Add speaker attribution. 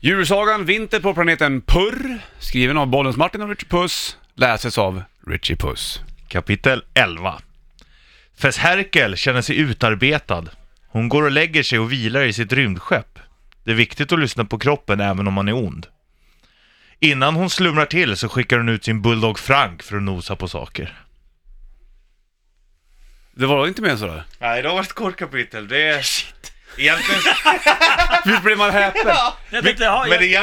Speaker 1: Djursagan Vinter på planeten Purr, skriven av Bollens Martin och Richie Puss, läses av Richie Puss.
Speaker 2: Kapitel 11 Fess Herkel känner sig utarbetad. Hon går och lägger sig och vilar i sitt rymdskepp. Det är viktigt att lyssna på kroppen även om man är ond. Innan hon slumrar till så skickar hon ut sin bulldog Frank för att nosa på saker.
Speaker 1: Det var inte mer än sådär?
Speaker 2: Nej, det har varit ett kort kapitel. Det är... Egentligen...
Speaker 1: Hur blir man häpen?
Speaker 3: Jag tänkte, ja,
Speaker 2: Men det är